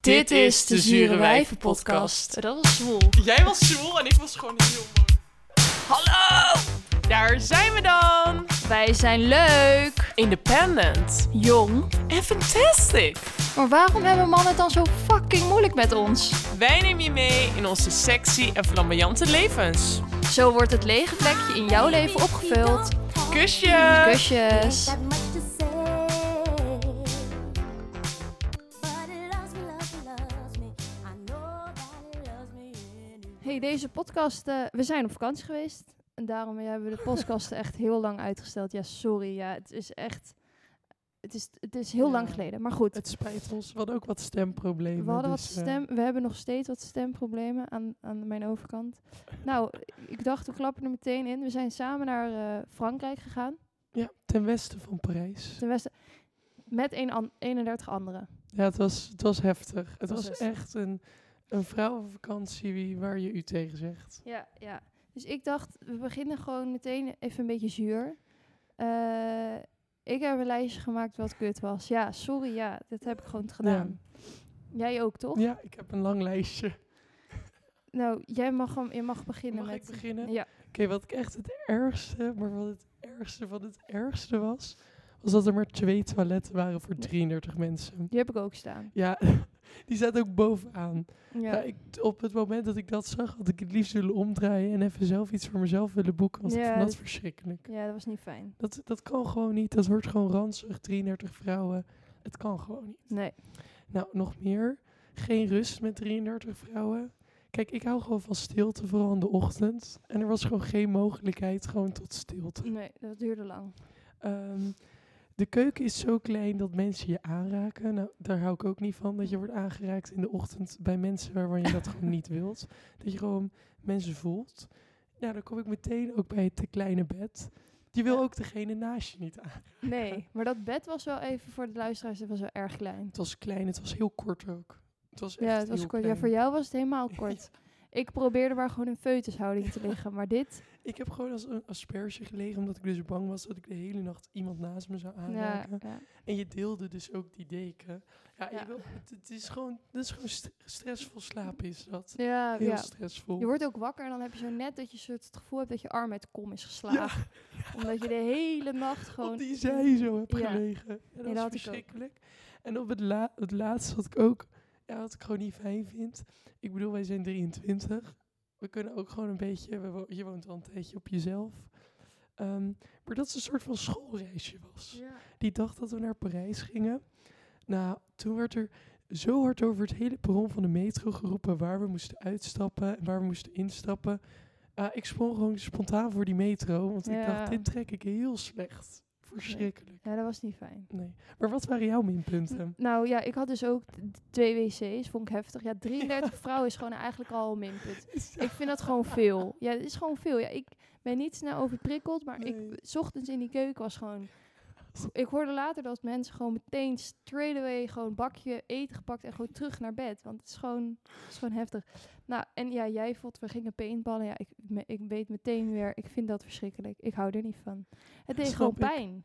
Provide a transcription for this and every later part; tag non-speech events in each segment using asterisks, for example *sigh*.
Dit is de Zure Wijven podcast. Dat was zwoel. Jij was zwoel en ik was gewoon heel mooi. Hallo! Daar zijn we dan! Wij zijn leuk, Independent jong. en fantastic! Maar waarom hebben mannen het dan zo fucking moeilijk met ons? Wij nemen je mee in onze sexy en flamboyante levens. Zo wordt het lege plekje in jouw leven opgevuld. Kusje! Kusjes. That much to say, but it loves me, loves me, loves me. I know that it loves me anyway. Hey, deze podcast. eh, we zijn op vakantie geweest. En daarom hebben we de *laughs* podcast echt heel lang uitgesteld. Ja, sorry. Ja, het is echt. Het is, het is heel lang Ja. geleden. Maar goed, Het spijt ons, we hadden ook wat stemproblemen. we hadden wat dus, eh, stem. We hebben nog steeds wat stemproblemen aan, aan mijn overkant. Nou, ik dacht, we klappen er meteen in. We zijn samen naar eh, Frankrijk gegaan. ja, ten westen van Parijs. Ten westen. Met een an 31 anderen. Ja, het was, het was heftig. Het was was heftig. echt een, een vrouwenvakantie wie- waar je u tegen zegt. Ja, ja. Dus ik dacht, we beginnen gewoon meteen even een beetje zuur. Eh, ik heb een lijstje gemaakt wat kut was. Ja, sorry, ja, dat heb ik gewoon gedaan. Jij ook, toch? Ja, ik heb een lang lijstje. Nou, jij mag, hem, je mag beginnen Mag met... ik beginnen? Ja. Oké, wat ik echt het ergste, maar wat het ergste van het ergste was, was dat er maar twee toiletten waren voor 33 mensen. Die heb ik ook staan. Ja, *laughs* die staat ook bovenaan. Ja. Ja. ik, op het moment dat ik dat zag, had ik het liefst willen omdraaien en even zelf iets voor mezelf willen boeken. Want ik Ja, vond dat dat- verschrikkelijk. ja, dat was niet fijn. Dat, dat kan gewoon niet. Dat wordt gewoon ranzig. 33 vrouwen. Het kan gewoon niet. Nee. Nou, nog meer. Geen rust met 33 vrouwen. Kijk, ik hou gewoon van stilte, vooral in de ochtend. En er was gewoon geen mogelijkheid gewoon tot stilte. Nee, dat duurde lang. Ehm, de keuken is zo klein dat mensen je aanraken. Nou, daar hou ik ook niet van. Dat je wordt aangeraakt in de ochtend bij mensen waarvan je dat gewoon niet wilt. Dat je gewoon mensen voelt. Nou, dan kom ik meteen ook bij het te kleine bed. Je wil Ja. ook degene naast je niet aan. *laughs* Nee, maar dat bed was wel even voor de luisteraars, dat was wel erg klein. Het was klein, het was heel kort ook. Het was echt Ja, het was heel kort. Ja, klein. voor jou was het *laughs* helemaal kort. Ik probeerde maar gewoon in feutushouding te liggen, maar *laughs* dit... Ik heb gewoon als een asperge gelegen, omdat ik dus bang was dat ik de hele nacht iemand naast me zou Ja, aanraken. ja. En je deelde dus ook die deken. Ja, je Ja. wil- het, het is gewoon, dat is gewoon st- stressvol slapen is dat. Ja, Heel ja, stressvol. Je wordt ook wakker en dan heb je zo net dat je zo het gevoel hebt dat je arm uit kom is *laughs* geslagen. Omdat je de hele nacht Op gewoon... *laughs* die zij zo heb Ja. gelegen. En dat dat was had ik ook. verschrikkelijk. En op het, la het laatste wat ik ook, ja, wat ik gewoon niet fijn vind. Ik bedoel, wij zijn 23. We kunnen ook gewoon een beetje, we wo- je woont al een tijdje op jezelf. Ehm, maar dat is een soort van schoolreisje was. Die dag dat we naar Parijs gingen. Nou, toen werd er zo hard over het hele perron van de metro geroepen waar we moesten uitstappen en waar we moesten instappen. Ah, ik sprong gewoon spontaan voor die metro, want ik Ja. dacht, dit trek ik heel slecht. Verschrikkelijk. Ja, dat was niet fijn. Nee. Maar wat waren jouw minpunten? Nou ja, ik had dus ook t- twee wc's, vond ik heftig. Ja, *laughs* 33 vrouwen is gewoon eigenlijk al een minpunt. *laughs* Ik vind dat gewoon veel. Ja, het is gewoon veel. Ja, ik ben niet snel overprikkeld, maar Nee. ik, 's ochtends in die keuken was gewoon... Ik hoorde later dat mensen gewoon meteen straight away gewoon een bakje eten gepakt en gewoon terug naar bed. Want het is gewoon, het is gewoon heftig. Nou, en ja, jij vond, we gingen paintballen. Ja, ik, me- ik weet meteen weer, ik vind dat verschrikkelijk. Ik hou er niet van. Het deed Snap gewoon ik. pijn.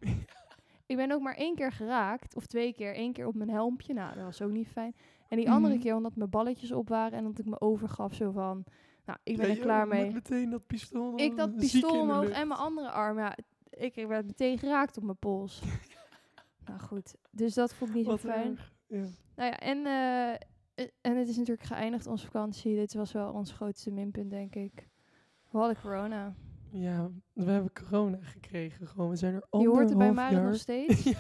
Ik ben ook maar één keer geraakt, of twee keer. Eén keer op mijn helmpje, nou, dat was ook niet fijn. En die andere Mhm. keer omdat mijn balletjes op waren en dat ik me overgaf zo van... Nou, ik ben Ja, er joh, klaar met mee. meteen dat pistool. Ik dat eh, ziek in pistool de omhoog lucht. en mijn andere arm. Ja, ik werd meteen geraakt op mijn *laughs* pols. nou goed, dus dat vond ik niet Wat zo fijn. erg. Ja. Nou ja, en, eh, eh, en het is natuurlijk geëindigd onze vakantie. Dit was wel ons grootste minpunt, denk ik. We hadden corona. ja, we hebben corona gekregen. Gewoon. We zijn er Je hoort het bij anderhalf Marit jaar nog *laughs* steeds.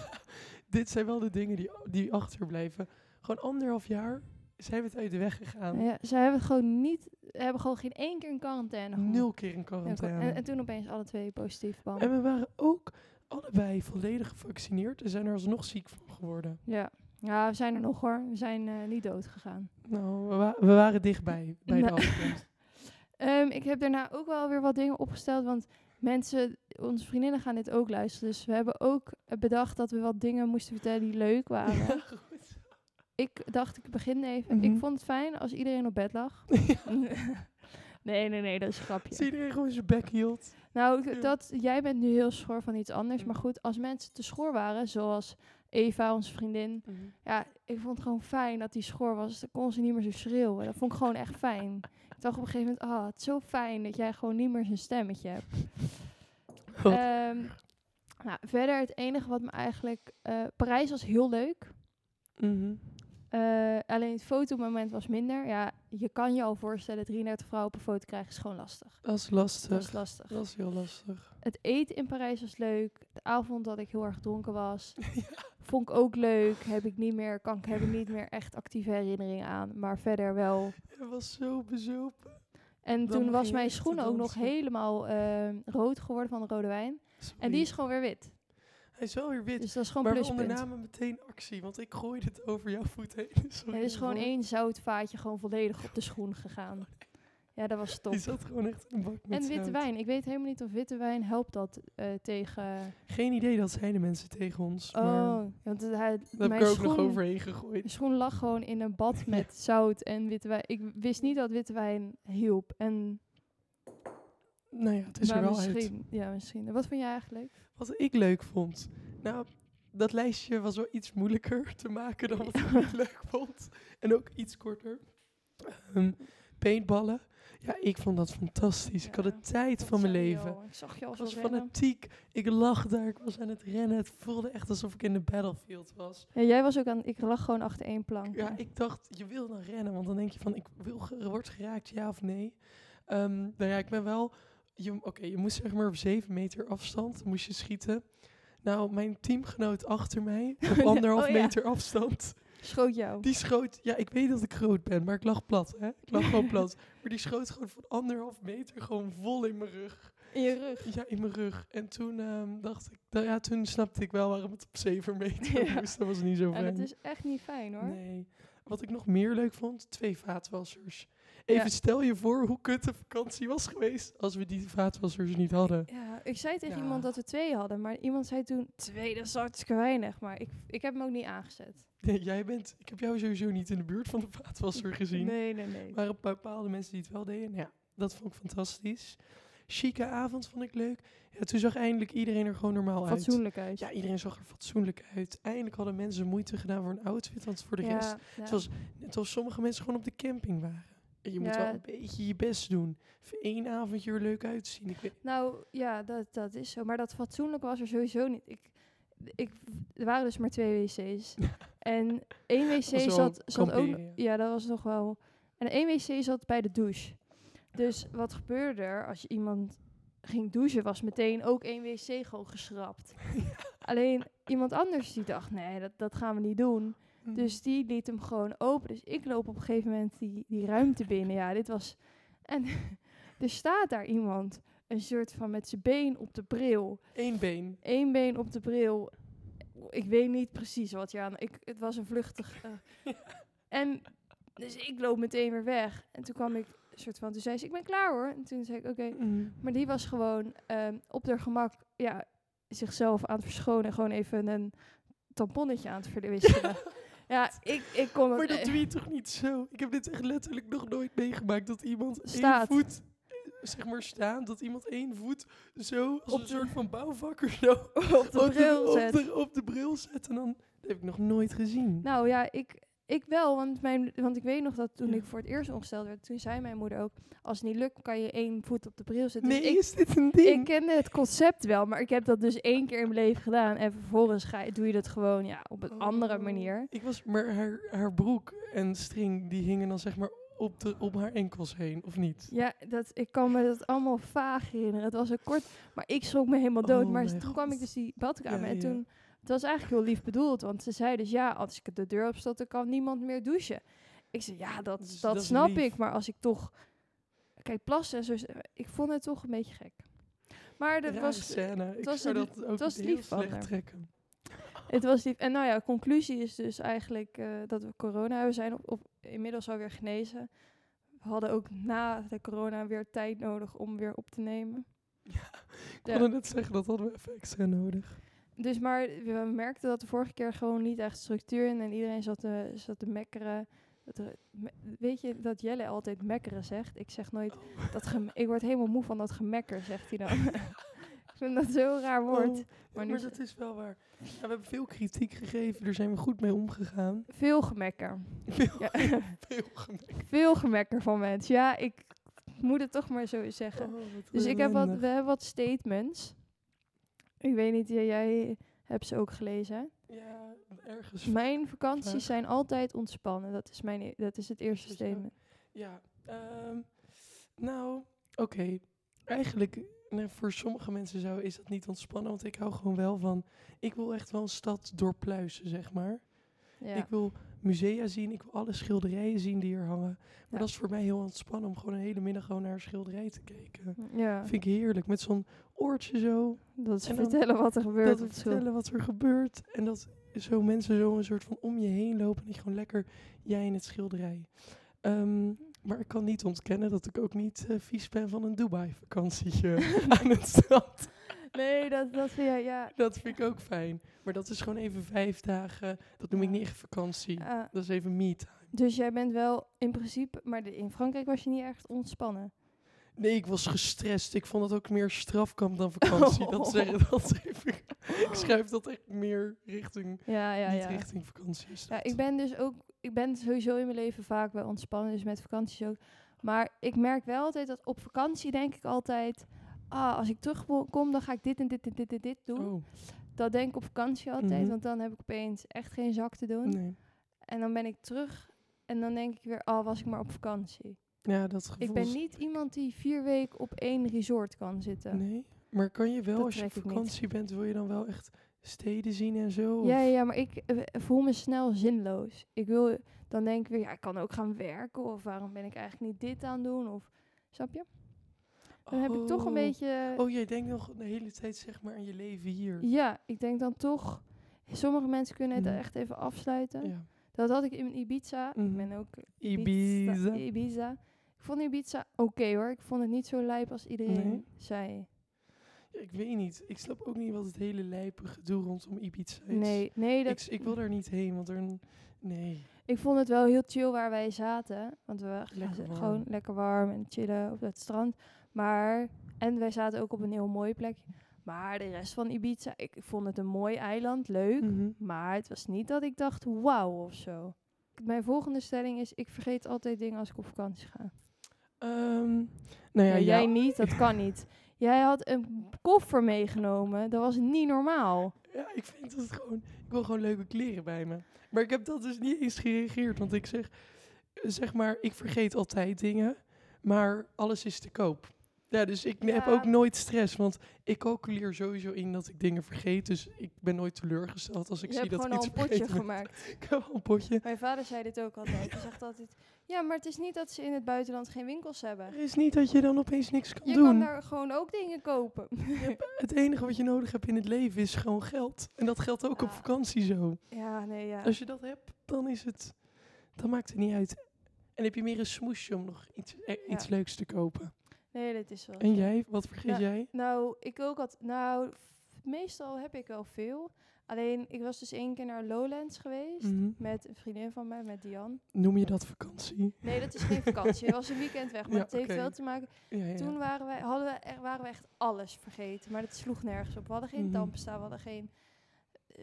dit zijn wel de dingen die, die achterblijven. Gewoon anderhalf jaar zijn we het uit de weg gegaan. Ja, ze hebben gewoon niet, hebben gewoon geen één keer in quarantaine. gehad. Nul keer in Ja, quarantaine. en, en toen opeens alle twee positief kwam. En we waren ook allebei volledig gevaccineerd en zijn er alsnog ziek van geworden. Ja. ja, we zijn er nog hoor. We zijn eh, niet dood gegaan. Nou, we, wa- we waren dichtbij bij de Nou. *laughs* afkomst. Ehm, ik heb daarna ook wel weer wat dingen opgesteld. Want mensen, onze vriendinnen gaan dit ook luisteren. Dus we hebben ook eh, bedacht dat we wat dingen moesten vertellen die leuk *laughs* waren. Ik dacht, ik begin even. Mhm. Ik vond het fijn als iedereen op bed lag. *laughs* Nee, nee, nee, dat is een grapje. Als iedereen gewoon zijn bek hield. Nou, Ja. ik- dat, jij bent nu heel schor van iets anders. Mm. Maar goed, als mensen te schor waren, zoals Eva, onze vriendin. Mm-hmm. Ja, ik vond het gewoon fijn dat die schor was. Dan kon ze niet meer zo schreeuwen. Dat vond ik gewoon echt *laughs* fijn. Ik dacht op een gegeven moment, ah, het is zo fijn dat jij gewoon niet meer zo'n stemmetje hebt. *laughs* Oh. Ehm, nou, verder het enige wat me eigenlijk... eh, Parijs was heel leuk. Mhm. Eh, alleen het fotomoment was minder. Ja, je kan je al voorstellen, 33 vrouwen op een foto krijgen is gewoon lastig. Dat is Dat lastig. is lastig. Dat is heel lastig. Het eten in Parijs was leuk. De avond dat ik heel erg dronken was, *laughs* vond ik ook leuk. Heb ik niet meer, kan ik, heb ik niet meer echt actieve herinneringen aan. Maar verder wel. Hij was zo bezopen. En Dan toen begin was je mijn echt te schoen ook nog dansen. helemaal ehm, rood geworden van de rode wijn. En die is gewoon weer wit. Hij is wel weer wit. Dus dat is gewoon maar we pluspunt. ondernamen meteen actie, want ik gooide het over jouw voet heen. *laughs* Sorry Er is gewoon daarvoor. één zoutvaatje gewoon volledig *laughs* op de schoen gegaan. Ja, dat was top. Oh, Die zat gewoon echt in een bak met En witte zout. wijn. Ik weet helemaal niet of witte wijn helpt dat eh, tegen... Geen idee, dat zeiden mensen tegen ons. maar Oh, want het- hij, dat heb mijn ik er ook nog schoen- overheen gegooid. Mijn schoen lag gewoon in een bad met *laughs* zout en witte wijn. Ik wist niet dat witte wijn hielp. En Nou ja, het is maar er wel uit. misschien, Ja, misschien. Wat vind jij eigenlijk? Wat ik leuk vond. Nou, dat lijstje was wel iets moeilijker *laughs* te maken dan *laughs* wat ik niet leuk vond. En ook iets korter. Ehm, paintballen. Ja, ik vond dat fantastisch. ik had Ja, de tijd van mijn leven. Ik zag je al Ik was fanatiek. Ik lag daar. Ik was aan het rennen. Het voelde echt alsof ik in de battlefield was. Ja, jij was ook aan... Ik lag gewoon achter één plank. *laughs* Ja, ik dacht, je wil dan rennen. Want dan denk je van, ik wil, ge- word geraakt, ja of nee. Ehm nou ja, ik ben wel... je- Oké, je moest zeg maar op zeven meter afstand moest je schieten. Nou, mijn teamgenoot achter *laughs* mij, op anderhalf oh ja. meter afstand, Schoot jou. die schoot... Ja, ik weet dat ik groot ben, maar ik lag plat, hè. Ik lag gewoon *laughs* plat. Maar die schoot gewoon van anderhalf meter gewoon vol in mijn rug. In je rug. Ja, in mijn rug. En toen ehm, dacht ik... Nou ja, toen snapte ik wel waarom het op zeven *laughs* meter Ja. moest. Dat was niet zo En fijn. dat is echt niet fijn hoor. Nee. Wat ik nog meer leuk vond, twee vaatwassers. Even Ja. stel je voor hoe kut de vakantie was geweest als we die vaatwassers niet hadden. Ja, ik zei tegen Ja. iemand dat we twee hadden, maar iemand zei toen... Twee, dat is hartstikke weinig. Maar ik, ik heb hem ook niet aangezet. Nee, jij bent, ik heb jou sowieso niet in de buurt van de vaatwasser gezien. Nee, nee, nee. Maar een paar bepaalde mensen die het wel deden, nou ja, dat vond ik fantastisch. Chique avond vond ik leuk. Ja, toen zag eindelijk iedereen er gewoon normaal uit. Fatsoenlijk uit. Ja, iedereen zag er fatsoenlijk uit. Eindelijk hadden mensen moeite gedaan voor een outfit, want voor de Ja, rest ja. Het was net als sommige mensen gewoon op de camping waren. En je moet Ja. wel een beetje je best doen. Even één avondje er leuk uitzien. Ik weet, Nou ja, dat, dat is zo. Maar dat fatsoenlijk was er sowieso niet. Ik, ik, er waren dus maar twee wc's. *laughs* en één wc was wel zat, zat ook. kamperen, no- ja. Ja, dat was nog wel. En één wc zat bij de douche. Dus wat gebeurde er als je iemand ging douchen, was meteen ook één wc gewoon *laughs* geschrapt. Alleen iemand anders die dacht, nee, dat, dat gaan we niet doen. mm. Dus die liet hem gewoon open. Dus ik loop op een gegeven moment die, die ruimte binnen. Ja, dit was. En *laughs* er staat daar iemand. Een soort van met zijn been op de bril. één been. Eén been op de bril. Ik weet niet precies wat je aan. Ik, het was een vluchtig. eh. En dus ik loop meteen weer weg. En toen kwam ik een soort van. Toen zei ze: Ik ben klaar hoor. En toen zei ik: Oké. Mm. Maar die was gewoon ehm, op haar gemak ja, zichzelf aan het verschonen. Gewoon even een tamponnetje aan het *laughs* verwisselen. ja, ik, ik kon dat... Maar dat eh, doe je toch niet zo? Ik heb dit echt letterlijk nog nooit meegemaakt. Dat iemand Staat. één voet, eh, zeg maar staan. Dat iemand één voet zo als Op een de- soort van bouwvakker zo op op de bril op, zet. de, op de bril zet. En dan, dat heb ik nog nooit gezien. Nou ja, ik, ik wel. Want, mijn, want ik weet nog dat toen Ja. ik voor het eerst ongesteld werd, toen zei mijn moeder ook... Als het niet lukt, kan je één voet op de bril zetten. Dus nee, ik, is dit een ik eh, ding? kende het concept wel, maar ik heb dat dus één keer in mijn leven gedaan. En vervolgens ga, je- doe je dat gewoon ja, op een andere Oh. manier. Ik was, maar haar, haar broek en string, die hingen dan zeg maar op, de, op haar enkels heen, of niet? Ja, dat, ik kan me dat allemaal vaag herinneren. Het was een kort, maar ik schrok me helemaal dood. Oh maar mijn toen kwam ik God. dus die badkamer Ja, en ja. toen... Het was eigenlijk heel lief bedoeld, want ze zei dus... Ja, als ik de deur op stond, dan kan niemand meer douchen. Ik zei, ja, dat, Dus dat, dat is snap lief. ik. Maar als ik toch... Kijk, plassen en zo... is- Ik vond het toch een beetje gek. Maar dat Rare was, scène. Ik was zou een- dat ook was heel lief van slecht haar. trekken. het was lief. En nou ja, conclusie is dus eigenlijk eh, dat we corona hebben. We zijn op, op, inmiddels alweer genezen. We hadden ook na de corona weer tijd nodig om weer op te nemen. Ik wilde net zeggen, dat hadden we even extra nodig. Dus maar we merkten dat de vorige keer gewoon niet echt structuur in en iedereen zat te, zat te mekkeren. Het, eh, me- Weet je dat Jelle altijd mekkeren zegt? Ik zeg nooit Oh. dat gem- ik word helemaal moe van dat gemekker, zegt hij dan. *laughs* ik vind dat zo'n raar woord. Oh, ja, maar nu is- dat is wel waar. Ja, we hebben veel kritiek gegeven, daar zijn we goed mee omgegaan. *laughs* Veel gemekker. Veel, Ja, *laughs* veel gemerkt. veel gemekker van mensen. Ja, ik moet het toch maar zo zeggen. Oh, wat Dus ik heb wat, ellendig. we hebben wat statements. Ik weet niet, jij- jij hebt ze ook gelezen. hè? Ja, ergens. Mijn vakanties Vraag. zijn altijd ontspannen. Dat is, mijn, e- dat is het eerste Is dat zo? statement. Ja, ehm, nou, oké. Eigenlijk, nee, voor sommige mensen zou, is dat niet ontspannen, want ik hou gewoon wel van... Ik wil echt wel een stad doorpluizen, zeg maar. Ja. Ik wil musea zien, ik wil alle schilderijen zien die er hangen. Maar Ja. dat is voor mij heel ontspannen om gewoon een hele middag gewoon naar een schilderij te kijken. ja, Vind ik heerlijk, met zo'n oortje zo, dat is en dan- vertellen wat er gebeurt. dat op we school. vertellen wat er gebeurt. En dat zo mensen zo een soort van om je heen lopen en dat je gewoon lekker jij in het schilderij. Ehm, maar ik kan niet ontkennen dat ik ook niet eh, vies ben van een Dubai-vakantie *laughs* *laughs* aan het strand. Nee, dat, dat vind jij, *laughs* ja. Dat vind ik ook fijn. Maar dat is gewoon even vijf dagen. Dat noem ik niet echt vakantie. Ah, Dat is even meet. dus jij bent wel in principe, maar de- in Frankrijk was je niet echt ontspannen. Nee, ik was gestrest. Ik vond het ook meer strafkamp dan vakantie. Oh. Dat, zeg, *laughs* dat schrijf ik. Ik schrijf dat echt meer richting, Ja, ja, niet ja. richting vakantie. is Ja, dat. ik ben dus ook, ik ben sowieso in mijn leven vaak wel ontspannen, dus met vakanties ook. Maar ik merk wel altijd dat op vakantie denk ik altijd, ah, als ik terugkom, dan ga ik dit en dit en dit en dit doen. Oh, Dat denk ik op vakantie altijd, Mhm. want dan heb ik opeens echt geen zak te doen. nee. En dan ben ik terug en dan denk ik weer, ah, was ik maar op vakantie. Ja, dat gevoel Ik ben is- niet iemand die vier weken op één resort kan zitten. Nee, maar kan je wel, Dat als je op trek ik niet. vakantie bent, wil je dan wel echt steden zien en zo? Of- Ja, ja, maar ik eh, voel me snel zinloos. Ik wil, dan denk ik weer, ja, ik kan ook gaan werken. Of waarom ben ik eigenlijk niet dit aan het doen? Of, snap je? Dan heb ik toch een Oh. beetje... Oh, jij denkt nog de hele tijd zeg maar aan je leven hier. Ja, ik denk dan toch... Sommige mensen kunnen het Mhm. echt even afsluiten. Ja. Dat had ik in Ibiza. Mhm. Ik ben ook Ibiza. Ibiza. Ik vond Ibiza oké hoor. Ik vond het niet zo lijp als iedereen Nee? zei. Ja, Ik weet niet. Ik snap ook niet wat het hele lijpe gedoe rondom Ibiza is. Nee, nee dat, Ik, ik wil daar niet heen, want er... een- Nee. Ik vond het wel heel chill waar wij zaten. Want we waren Lekker warm. gewoon lekker warm en chillen op dat strand. Maar, en wij zaten ook op een heel mooi plekje. Maar de rest van Ibiza, ik vond het een mooi eiland, leuk. Mhm. Maar het was niet dat ik dacht, wauw of zo. Mijn volgende stelling is, ik vergeet altijd dingen als ik op vakantie ga. Ehm, nou ja, Ja, ja, jij niet, dat kan niet. Jij had een koffer meegenomen, dat was niet normaal. Ja, ik vind dat het gewoon... Ik wil gewoon leuke kleren bij me. Maar ik heb dat dus niet eens gereageerd. Want ik zeg, eh, zeg maar, ik vergeet altijd dingen. Maar alles is te koop. Ja, dus ik heb Ja. ook nooit stress. Want ik calculeer sowieso in dat ik dingen vergeet. Dus ik ben nooit teleurgesteld als Je ik zie hebt dat gewoon ik al iets een potje vergeten ben. gemaakt. Ik heb al een potje. Mijn vader zei dit ook altijd. Hij zegt altijd, ja, maar het is niet dat ze in het buitenland geen winkels hebben. Er is niet dat je dan opeens niks kan Je doen. kan daar gewoon ook dingen kopen. Het enige wat je nodig hebt in het leven is gewoon geld. En dat geldt ook op Ja. vakantie zo. *laughs* Ja, nee, ja. Als je dat hebt, dan is het... Dan maakt het niet uit. En heb je meer een smoesje om nog iets, eh, Ja. iets leuks te kopen. Nee, dat is wel. En jij? Wat vergeet Ja. jij? Nou, ik ook had, nou, f- meestal heb ik wel veel. Alleen, ik was dus één keer naar Lowlands geweest. Mhm. Met een vriendin van mij, met Diane. Noem je dat vakantie? Nee, dat is geen *laughs* vakantie. Het was een weekend weg, maar Ja, het heeft oké. wel te maken. Ja, ja. Toen waren, wij, hadden we, er, waren we echt alles vergeten, maar dat sloeg nergens op. We hadden geen Mhm. tandpasta, we hadden geen,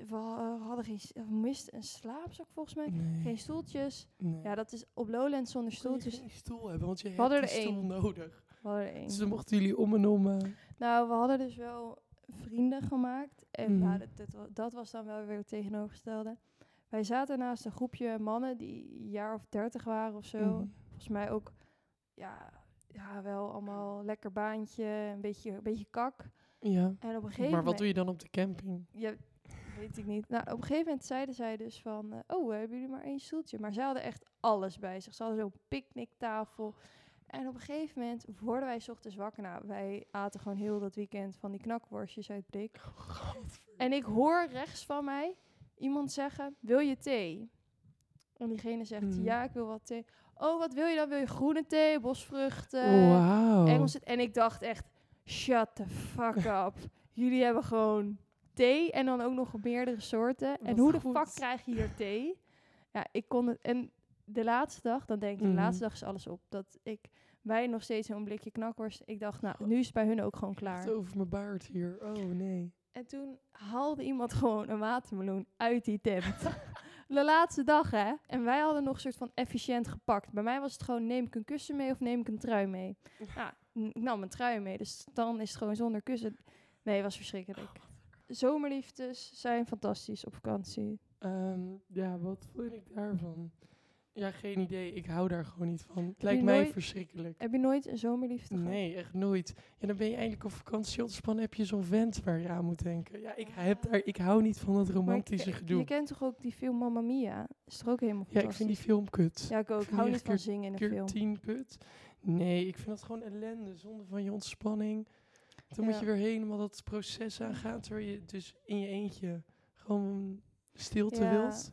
we hadden geen, we misten een slaapzak volgens mij, Nee, geen stoeltjes. nee. Ja, dat is op Lowlands zonder Kon je stoeltjes. geen stoel hebben, want je hebt hadden die er één. stoel nodig. We hadden er één. Dus dan mochten jullie om en om... eh, Nou, we hadden dus wel vrienden gemaakt. En Mhm. nou, dat, dat, wa- dat was dan wel weer het tegenovergestelde. Wij zaten naast een groepje mannen die een jaar of dertig waren of zo. mhm. Volgens mij ook, ja, ja, wel allemaal lekker baantje, een beetje, een beetje kak. Ja. En op een gegeven Maar wat moment... doe je dan op de camping? Ja, weet ik niet. Nou, op een gegeven moment zeiden zij dus van... eh, oh, hebben jullie maar één stoeltje? Maar zij hadden echt alles bij zich. Ze hadden zo'n picknicktafel. En op een gegeven moment worden wij 's ochtends wakker. Nou, wij aten gewoon heel dat weekend van die knakworstjes uit Brik. En ik hoor rechts van mij iemand zeggen... Wil je thee? En diegene zegt... Mhm. Ja, ik wil wat thee. Oh, wat wil je dan? Wil je groene thee, bosvruchten? Wauw. Engels. En ik dacht echt, shut the *laughs* fuck up. Jullie hebben gewoon thee en dan ook nog meerdere soorten. En Wat hoe de goed. fuck krijg je hier thee? Ja, ik kon het. En de laatste dag, dan denk ik, Mhm. de laatste dag is alles op. Dat ik, wij nog steeds een blikje knakworst. Ik dacht, nou, nu is het bij hun ook gewoon klaar. Het over mijn baard hier. Oh nee. En toen haalde iemand *laughs* gewoon een watermeloen uit die tent. *laughs* De laatste dag, hè? En wij hadden nog een soort van efficiënt gepakt. Bij mij was het gewoon, neem ik een kussen mee of neem ik een trui mee? Nou, n- ik nam een trui mee, dus dan is het gewoon zonder kussen. Nee, het was verschrikkelijk. Zomerliefdes zijn fantastisch op vakantie. Ehm, ja, wat vond ik daarvan? Ja, geen idee. Ik hou daar gewoon niet van. Het je lijkt mij nooit- verschrikkelijk. Heb je nooit een zomerliefde gehad? Nee, echt nooit. Ja, dan ben je eigenlijk op vakantie ontspannen. Heb je zo'n vent waar je aan moet denken. Ja, ik, heb daar, ik hou niet van dat Maar ik- romantische eh, gedoe. Je kent toch ook die film Mamma Mia? Is toch ook helemaal Ja, ik vind die film kut. Ja, ik ook. ik Ik vind hou die niet echt van zingen in een Keer film. tien kut. Nee, ik vind dat gewoon ellende. Zonde van je ontspanning. Dan moet Ja. je weer helemaal dat proces aangaan. Terwijl je dus in je eentje gewoon stilte Ja. wilt.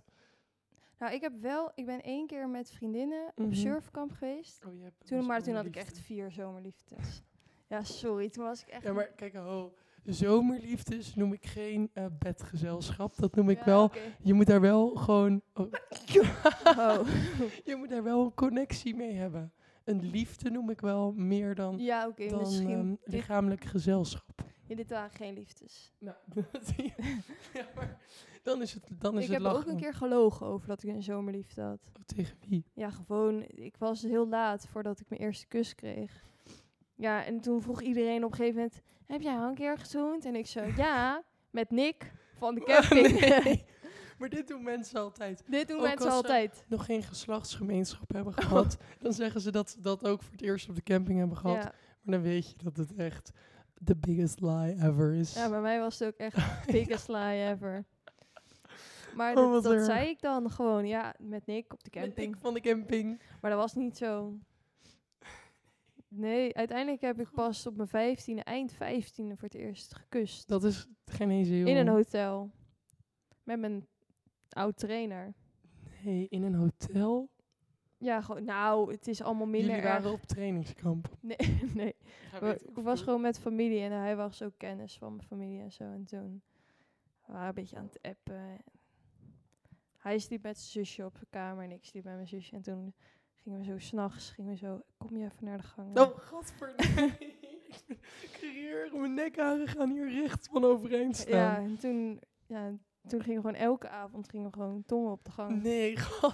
Nou, ik heb wel... Ik ben één keer met vriendinnen Mhm. op surfkamp geweest. Oh, je hebt Toen, een maar toen had ik zomerliefde. echt vier zomerliefdes. ja, sorry. Toen was ik echt... *laughs* Ja, maar kijk, ho. Zomerliefdes noem ik geen eh, bedgezelschap. Dat noem ik Ja, wel. oké. *laughs* Je moet daar wel gewoon. *laughs* oh, Oh. *laughs* je moet daar wel een connectie mee hebben. Een liefde noem ik wel meer dan, Ja, oké. dan misschien... ehm, dit, lichamelijk gezelschap. ja, dit waren geen liefdes. *laughs* Nou, ja, maar dan is het, dan is ik het heb lachen. ook een keer gelogen over dat ik een zomerliefde had. Oh, tegen wie? Ja, gewoon... Ik was heel laat voordat ik mijn eerste kus kreeg. Ja, en toen vroeg iedereen op een gegeven moment... Heb jij al een keer gezoend? En ik *laughs* zo... Ja, met Nick van de camping. Oh, nee. Maar dit doen mensen altijd. *laughs* Dit doen Ook als eh, mensen ze- altijd. Nog geen geslachtsgemeenschap hebben Oh. gehad. Dan zeggen ze dat ze dat ook voor het eerst op de camping hebben gehad. Ja. Maar dan weet je dat het echt the biggest lie ever is. ja, bij mij was het ook *laughs* echt biggest lie ever. Maar Oh, dat, wat dat erg. zei ik dan gewoon, ja, met Nick op de Met Nick camping. van de camping. Maar dat was niet zo. Nee, uiteindelijk heb ik pas op mijn vijftiende, eind vijftiende voor het eerst gekust. Dat is geen eens heel... In een hotel. Met mijn oud trainer. Nee, in een hotel. Ja, gewoon, nou, het is allemaal minder Jullie waren erg. op trainingskamp. Nee, *laughs* nee. We- ik was gewoon met familie en hij was ook kennis van mijn familie en zo. En toen we waren een beetje aan het appen. Hij sliep met zijn zusje op de kamer en ik sliep met mijn zusje. En toen gingen we zo s'nachts, gingen we zo, kom je even naar de gang. Oh, godver. *laughs* ik ben hier mijn nekharen gaan hier recht van overeind ja, staan. en toen, ja, toen gingen we gewoon elke avond gingen we gewoon tongen op de gang. Nee, *laughs* god.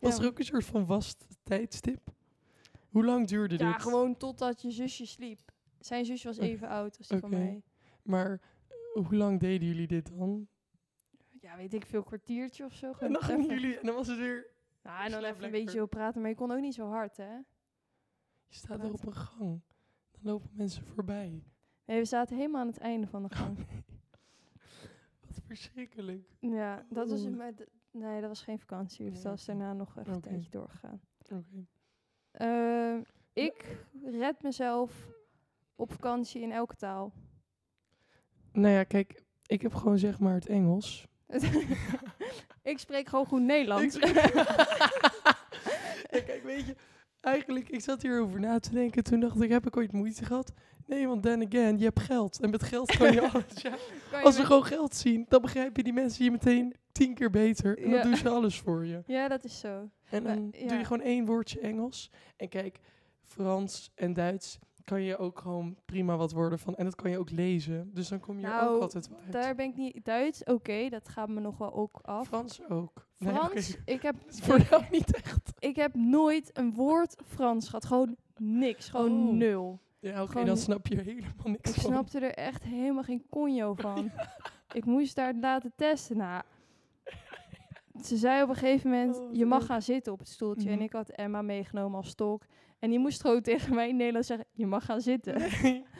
Was Ja. er ook een soort van vast tijdstip? Hoe lang duurde Ja, dit? gewoon totdat je zusje sliep. Zijn zusje was Oké. even oud als die Oké. van mij. Maar eh, hoe lang deden jullie dit dan? Ja, weet ik veel, kwartiertje of zo. En gewoon dan gingen even- jullie... En dan was het weer... Nou, en dan Slaap even een lekker. beetje op praten, maar je kon ook niet zo hard, hè? Je staat er op een gang. Dan lopen mensen voorbij. Nee, we zaten helemaal aan het einde van de Oh, gang. Wat verschrikkelijk. Ja, dat was het. Oeh. Maar d- nee, dat was geen vakantie. Nee, Dus dat is oké. daarna nog echt een Oké. tijdje doorgegaan. Oké. Ehm, ik red mezelf op vakantie in elke taal. *laughs* Nou ja, kijk, ik heb gewoon zeg maar het *laughs* Engels. ik spreek gewoon goed Nederlands. Ik- *laughs* Ja, kijk, weet je, eigenlijk, ik zat hierover na te denken. Toen dacht ik, heb ik ooit moeite gehad? Nee, want then again, je hebt geld. En met geld *laughs* kan je alles. Ja. Kan je Als we met- gewoon geld zien, dan begrijpen die mensen je meteen tien keer beter. En Ja. dan doen ze alles voor je. Ja, dat is zo. En Maar, dan ja. doe je gewoon één woordje Engels. En kijk, Frans en Duits kan je ook gewoon prima wat worden van. En dat kan je ook lezen. Dus dan kom je er ook Nou, altijd wel uit. Daar ben ik niet... Duits, oké, dat gaat me nog wel ook af. Frans ook. Nee, oké, *laughs* Frans, ik, heb, dat is voor jou niet echt. ik heb nooit een woord Frans gehad. Gewoon niks. Gewoon Oh. nul. Ja, oké, Gewoon- dan snap je er helemaal niks Ik van. snapte er echt helemaal geen conjo *laughs* van. Ik moest daar laten testen. Nou, ze zei op een gegeven moment, Oh, wat je mag leuk. gaan zitten op het stoeltje. Mhm. En ik had Emma meegenomen als stok. En die moest gewoon *laughs* tegen mij in Nederlands zeggen, je mag gaan *laughs* zitten. Nee,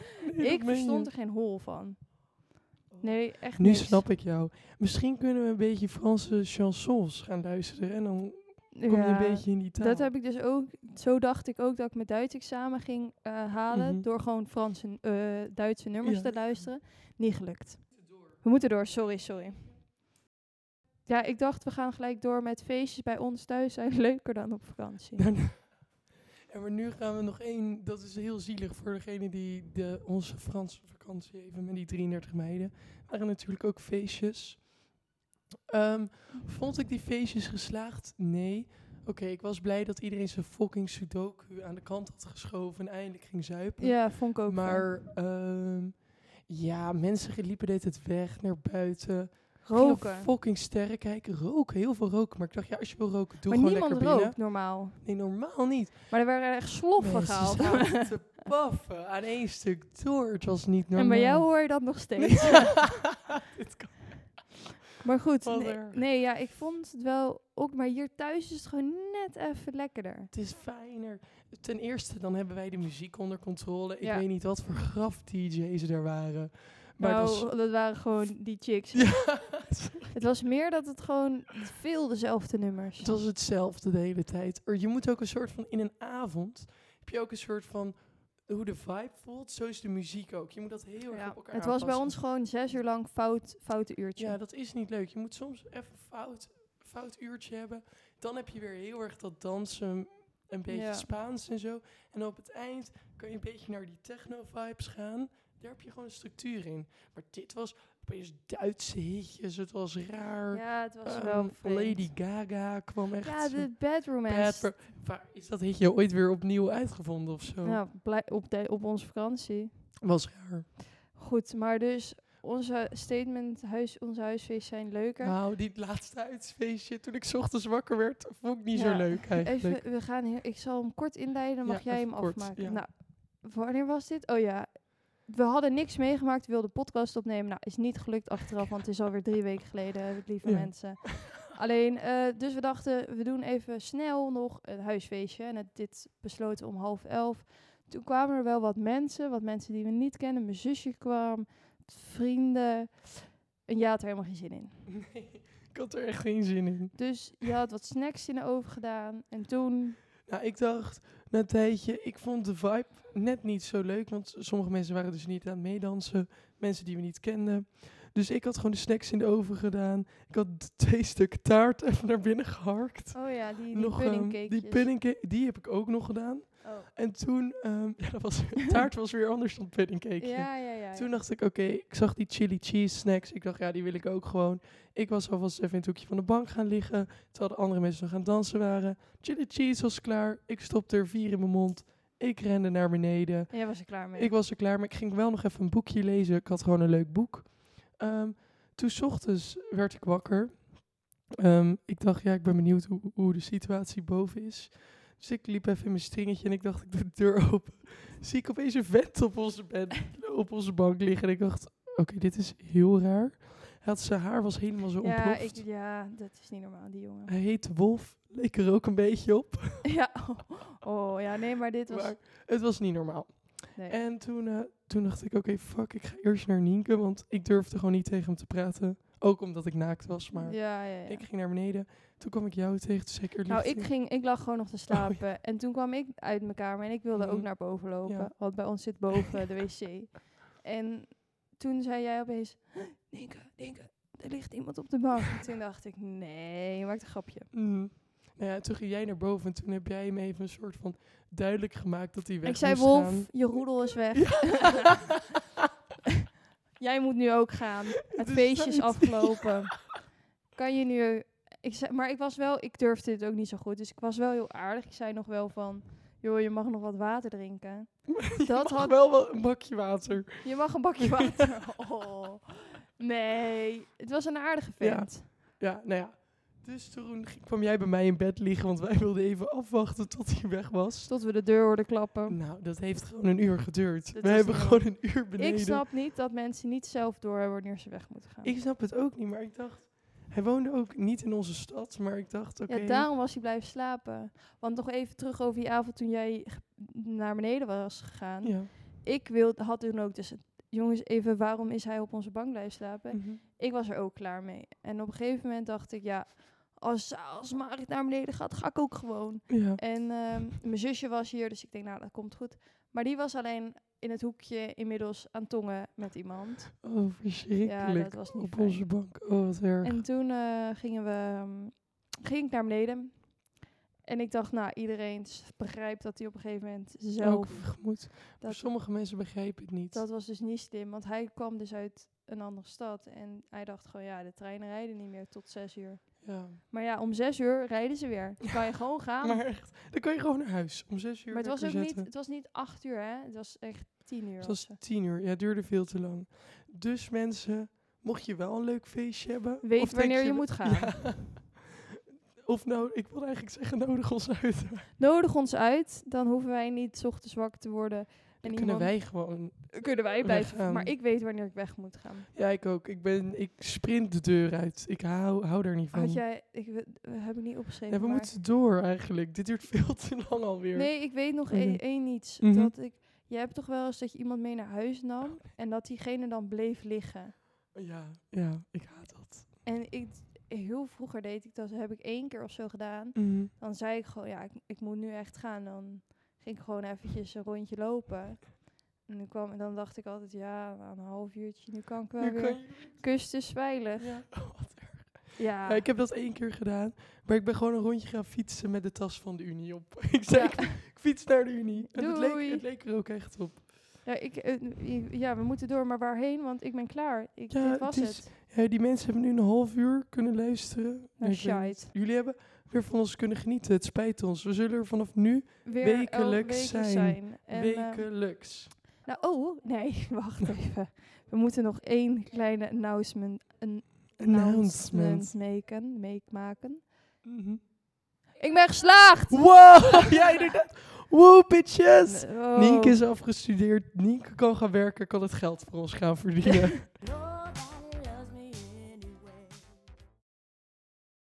*laughs* nee, dat meen ik verstond je. er geen hol van. Nee, echt Nu niks. snap ik jou. Misschien kunnen we een beetje Franse chansons gaan luisteren. En dan kom je Ja, een beetje in die taal. Dat heb ik dus ook, zo dacht ik ook dat ik mijn Duits examen ging eh, halen. Mhm. Door gewoon Franse, eh, Duitse nummers Ja. te luisteren. Niet gelukt. We moeten door, sorry, sorry. Ja, ik dacht we gaan gelijk door met feestjes bij ons thuis zijn *laughs* leuker dan op *laughs* vakantie. Dan- en maar nu gaan we nog één. Dat is heel zielig voor degene die de, onze Franse vakantie even met die 33 meiden. waren natuurlijk ook feestjes. Ehm, vond ik die feestjes geslaagd? Nee. ik was blij dat iedereen zijn fucking sudoku aan de kant had geschoven en eindelijk ging zuipen. Ja, vond ik ook. fijn. Maar ehm, ja, mensen liepen dit het weg naar buiten. Gingen roken. fucking sterren kijken. Roken, heel veel roken. Maar ik dacht, ja, als je wil roken, doe Maar gewoon niemand lekker binnen. rookt normaal. Nee, normaal niet. Maar er werden echt sloffen Mensen gehaald. *laughs* zaten *laughs* te paffen aan één stuk door. Het was niet normaal. En bij jou hoor je dat nog *laughs* steeds. *laughs* Dit kan- Maar goed, Wat nee, erg. nee, ja, ik vond het wel ook. Maar hier thuis is het gewoon net even lekkerder. Het is fijner. Ten eerste, dan hebben wij de muziek onder controle. Ik Ja. weet niet wat voor graf DJ's er waren. Maar nou, dat *laughs* is- dat waren gewoon die chicks. Ja, Het was meer dat het gewoon veel dezelfde nummers. het was hetzelfde de hele tijd. Er- Je moet ook een soort van, in een avond, heb je ook een soort van, hoe de vibe voelt, zo is de muziek ook. Je moet dat heel erg Ja, op elkaar het was bij aanpassen. ons gewoon zes uur lang fout, foute uurtje. Ja, dat is niet leuk. Je moet soms even een fout, fout uurtje hebben. Dan heb je weer heel erg dat dansen, een beetje Ja. Spaans en zo. En op het eind kan je een beetje naar die techno-vibes gaan. Daar heb je gewoon een structuur in. Maar dit was opeens Duitse hitjes. Het was raar. Ja, het was Ehm, wel vreemd. Lady Gaga kwam echt. Ja, dus zo- de bedroom Bad per- Waar is dat hitje ooit weer opnieuw uitgevonden of zo? Nou, blij- op, de, op onze vakantie. Was raar. Goed, maar dus onze statement, huis, onze huisfeest zijn leuker. Nou, die laatste uitfeestje toen ik 's ochtends wakker werd, vond ik niet Ja, zo leuk eigenlijk. Even, we gaan hier, ik zal hem kort inleiden, dan Ja, mag jij even hem kort, afmaken. ja. Nou, wanneer was dit? Oh ja, we hadden niks meegemaakt, we wilden podcast opnemen. Nou, is niet gelukt achteraf, want het is alweer drie weken geleden, lieve Ja. mensen. Alleen, eh, dus we dachten, we doen even snel nog een huisfeestje. En het, dit besloten we om half elf. Toen kwamen er wel wat mensen, wat mensen die we niet kennen. Mijn zusje kwam, vrienden. En jij had er helemaal geen zin in. *laughs* Nee, ik had er echt geen zin in. Dus je had wat snacks in de oven gedaan. En toen Nou, ik dacht na een tijdje, ik vond de vibe net niet zo leuk. Want sommige mensen waren dus niet aan het meedansen. Mensen die we niet kenden. Dus ik had gewoon de snacks in de oven gedaan. Ik had d- twee stukken taart *laughs* even naar binnen geharkt. Oh ja, die, die Nog, ehm, puddingcakejes. die puddingcake, die heb ik ook nog gedaan. Oh. En toen, ehm, *laughs* ja, dat was, *laughs* taart was weer anders dan puddingcakeje. Ja, ja, ja. Toen dacht ik, oké, ik zag die chili cheese snacks. Ik dacht, ja, die wil ik ook gewoon. Ik was alvast even in het hoekje van de bank gaan liggen. Terwijl de andere mensen nog aan het dansen waren. Chili cheese was klaar. Ik stopte er vier in mijn mond. Ik rende naar beneden. En jij was er klaar mee. Ik was er klaar, maar ik ging wel nog even een boekje lezen. Ik had gewoon een leuk boek. Ehm, toen 's ochtends werd ik wakker. Ehm, ik dacht, ja, ik ben benieuwd hoe, hoe de situatie boven is. Dus ik liep even in mijn stringetje en ik dacht, ik doe de deur open. *laughs* Zie ik opeens een vent op onze, bed, *laughs* op onze bank liggen. En ik dacht, oké, dit is heel raar. Hij had zijn haar was helemaal zo ja, ik, ontploft. ja, dat is niet normaal, die *laughs* jongen. Hij heette Wolf, leek er ook een beetje op. ja, oh, oh, ja, nee, maar dit was... Maar het was niet normaal. nee. En toen, eh, toen dacht ik, oké, fuck, ik ga eerst naar Nienke, want ik durfde gewoon niet tegen hem te praten. Ook omdat ik naakt was, maar ja, ja, ja. ik ging naar beneden. Toen kwam ik jou tegen, toen zei ik er nou, liefst ik, in. ging, ik lag gewoon nog te slapen. En toen kwam ik uit mijn kamer en ik wilde ook Oh, Mhm. naar boven lopen. Ja. Want bij ons zit boven de *laughs* wc. En toen zei jij opeens... Nienke, Nienke, er ligt iemand op de bank. En toen dacht ik, nee, je maakt een grapje. Mhm. Nou ja, toen ging jij naar boven en toen heb jij hem even een soort van duidelijk gemaakt dat hij weg Ik zei, moest Wolf, gaan. je roedel is weg. *laughs* *laughs* Jij moet nu ook gaan. *laughs* Het is feestje is tijd. afgelopen. *laughs* Kan je nu... Ik zei, maar ik was wel... Ik durfde dit ook niet zo goed. Dus ik was wel heel aardig. Ik zei nog wel van... Joh, je mag nog wat water drinken. Je dat mag had- wel wel een bakje water. Je mag een *laughs* bakje water. Oh. Nee. Het was een aardige vent. Ja, nou ja. Dus toen ging- kwam jij bij mij in bed liggen, want wij wilden even afwachten tot hij weg was. Tot we de deur hoorden klappen. Nou, dat heeft gewoon een uur geduurd. Oh. Dat We is hebben niet gewoon een uur beneden. Ik snap niet dat mensen niet zelf doorhebben wanneer ze weg moeten gaan. Ik snap het ook niet, maar ik dacht... Hij woonde ook niet in onze stad, maar ik dacht, oké... Ja, daarom was hij blijven slapen. Want nog even terug over die avond toen jij ge- naar beneden was gegaan. ja. Ik wilde, had toen ook dus... Jongens, even waarom is hij op onze bank blijven slapen? Mhm. Ik was er ook klaar mee. En op een gegeven moment dacht ik, ja... Als, als Marit naar beneden gaat, ga ik ook gewoon. ja. En ehm, mijn zusje was hier, dus ik denk, nou, dat komt goed. Maar die was alleen in het hoekje inmiddels aan tongen met iemand. Oh, verschrikkelijk. Ja, dat was niet Op fijn. onze bank. Oh, wat erg. En toen eh, gingen we, ehm, ging ik naar beneden. En ik dacht, nou, iedereen s- begrijpt dat hij op een gegeven moment Ook zelf... vergemoed. Dat- Sommige mensen begrijpen het niet. Dat was dus niet slim, want hij kwam dus uit een andere stad. En hij dacht gewoon, ja, de treinen rijden niet meer tot zes uur. Ja. Maar ja, om zes uur rijden ze weer. Dan kan je *laughs* gewoon gaan. Maar echt, dan kan je gewoon naar huis om zes uur. Ah. Maar het was ook lekker niet, zetten. het was niet acht uur, hè? Het was echt tien uur. Het of was zo. tien uur. Ja, het duurde veel te lang. Dus mensen, mocht je wel een leuk feestje hebben... Weet of denk wanneer je moet gaan. Ja. *laughs* Of nou, ik wil eigenlijk zeggen, nodig ons uit. *laughs* Nodig ons uit, dan hoeven wij niet 's ochtends wakker te worden. En Dan kunnen iemand- wij gewoon... kunnen wij blijven. weggaan. Maar ik weet wanneer ik weg moet gaan. Ja, ik ook. Ik, ben, ik sprint de deur uit. Ik hou, hou daar niet van. Had jij, ik we- heb ik niet opgeschreven. Ehm, Ja, we maar- moeten door eigenlijk. Dit duurt veel te lang alweer. Nee, ik weet nog Mhm. één één iets. Mhm. Oh, Dat ik, jij hebt toch wel eens dat je iemand mee naar huis nam en dat diegene dan bleef liggen. Ja, ja, ik haat dat. En ik, heel vroeger deed ik dat, heb ik één keer of zo gedaan. Dan zei ik gewoon, ja, ik, ik moet nu echt gaan. Dan ging ik gewoon eventjes een rondje lopen. En dan, kwam, en dan dacht ik altijd, ja, na een half uurtje, nu kan ik wel Nu weer. kan je- Kusten is veilig. Ja, *laughs* Oh, wat erg. Ja. Ja, ik heb dat één keer gedaan, maar ik ben gewoon een rondje gaan fietsen met de tas van de Unie op. *laughs* ik zei, Ja. ik, ik fiets naar de Unie. En het leek, Doei. het leek er ook echt op. Ja, ik, eh, i- ja, we moeten door, maar waarheen? Want ik ben klaar. Ik, Ja, dit was het het. is- Ja, die mensen hebben nu een half uur kunnen luisteren. Nou, ik weet shite. niet. Jullie hebben weer van ons kunnen genieten. Het spijt ons. We zullen er vanaf nu Weer wekelijks elke zijn. En, eh, wekelijks. nou, oh, nee, *laughs* wacht even. We moeten nog één kleine announcement, een announcement Announcement. maken, make maken. Mhm. Ik ben geslaagd! Wow, *laughs* ja inderdaad. Wow, bitches. Nee, oh. Nienke is afgestudeerd. Nienke kan gaan werken, kan het geld voor ons gaan verdienen. No